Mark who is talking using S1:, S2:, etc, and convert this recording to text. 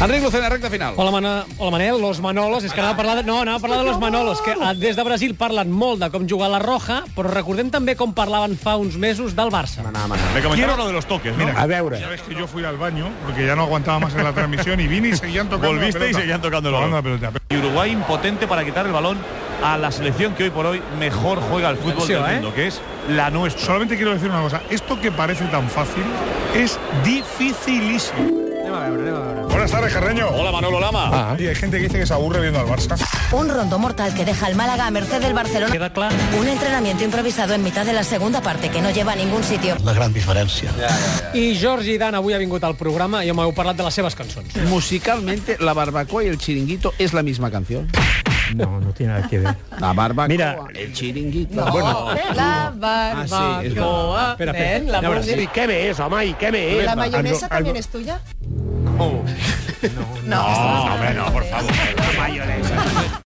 S1: Enric Lucena, recta final.
S2: Hola, Mana... Hola Manel, los Manolos. És que anava a parlar de... No, anava a parlar de los Manolos, que ah, des de Brasil parlen molt de com jugar a la Roja, però recordem també com parlaven fa uns mesos del Barça.
S3: Me comentaron lo de los toques, mira.
S4: A veure.
S5: Ya ves que yo fui al baño porque ya no aguantaba más en la transmisión y vine y seguían tocando la
S3: Volviste y
S5: pelota.
S3: seguían tocando el
S5: Tocando la
S3: balón.
S5: pelota.
S3: Y Uruguay impotente para quitar el balón a la selección que hoy por hoy mejor juega al fútbol
S2: Atención,
S3: del
S2: ¿eh?
S3: mundo, que es la nuestra.
S5: Solamente quiero decir una cosa. Esto que parece tan fácil es dificilísimo. Buenas tardes, Carreño.
S1: Hola, Manolo Lama.
S5: Y hay gente que dice que se aburre viendo al Barça.
S6: Un rondo mortal que deja al Málaga a merced del Barcelona.
S2: Queda clar?
S6: Un entrenamiento improvisado en mitad de la segunda parte que no lleva a ningún sitio.
S2: I Jordi Dan avui ha vingut al programa i m'heu parlat de les seves cançons.
S7: Musicalmente, la barbacoa y el chiringuito es la misma canción.
S8: No, no tiene nada que ver.
S7: La barbacoa,
S8: Mira,
S7: el chiringuito.
S9: La
S7: Ah, sí, es
S9: barbacoa.
S2: Espera, espera.
S9: Ven, la
S2: A veure,
S9: mayonesa-
S2: sí.
S8: ¿Qué me es, Amai? ¿Qué me
S9: ¿La mayonesa
S5: Algo-
S9: también
S5: algo-
S9: es tuya?
S5: No, hombre, no, por favor.